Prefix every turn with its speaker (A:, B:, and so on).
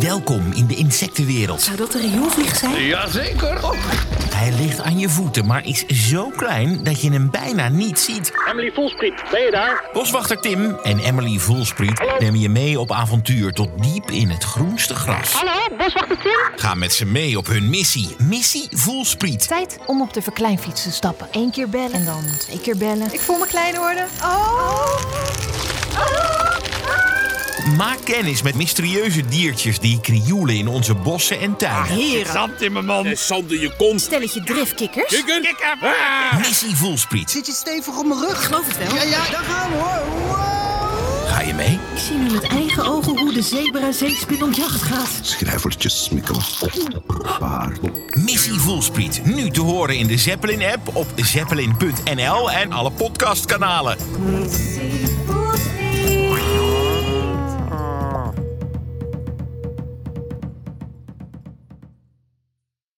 A: Welkom in de insectenwereld.
B: Zou dat een rioolvlieg zijn?
C: Jazeker.
A: Hij ligt aan je voeten, maar is zo klein dat je hem bijna niet ziet.
D: Emily Volspriet, ben je daar?
A: Boswachter Tim en Emily Voelspriet nemen je mee op avontuur tot diep in het groenste gras.
E: Hallo, boswachter Tim?
A: Ga met ze mee op hun missie. Missie Voelspriet.
F: Tijd om op de verkleinfiets te stappen.
B: Eén keer bellen.
F: En dan twee keer bellen.
G: Ik voel me klein worden. Oh!
A: Maak kennis met mysterieuze diertjes die krioelen in onze bossen en
E: Ah,
A: tuinen.
B: Heren,
C: Zand in mijn man.
H: Sander, je kont.
B: stelletje driftkikkers. Ik
C: Kikken. Ah.
A: Missie Voelspriet.
I: Zit je stevig op mijn rug?
B: geloof het wel.
I: Ja, ja, daar gaan we hoor. Wow.
A: Ga je mee?
B: Ik zie nu met eigen ogen hoe de zebra zeespin op jacht gaat.
H: Schrijvertjes, smikkels, opbaar.
A: Missie Voelspriet. Nu te horen in de Zeppelin-app op zeppelin.nl en alle podcastkanalen.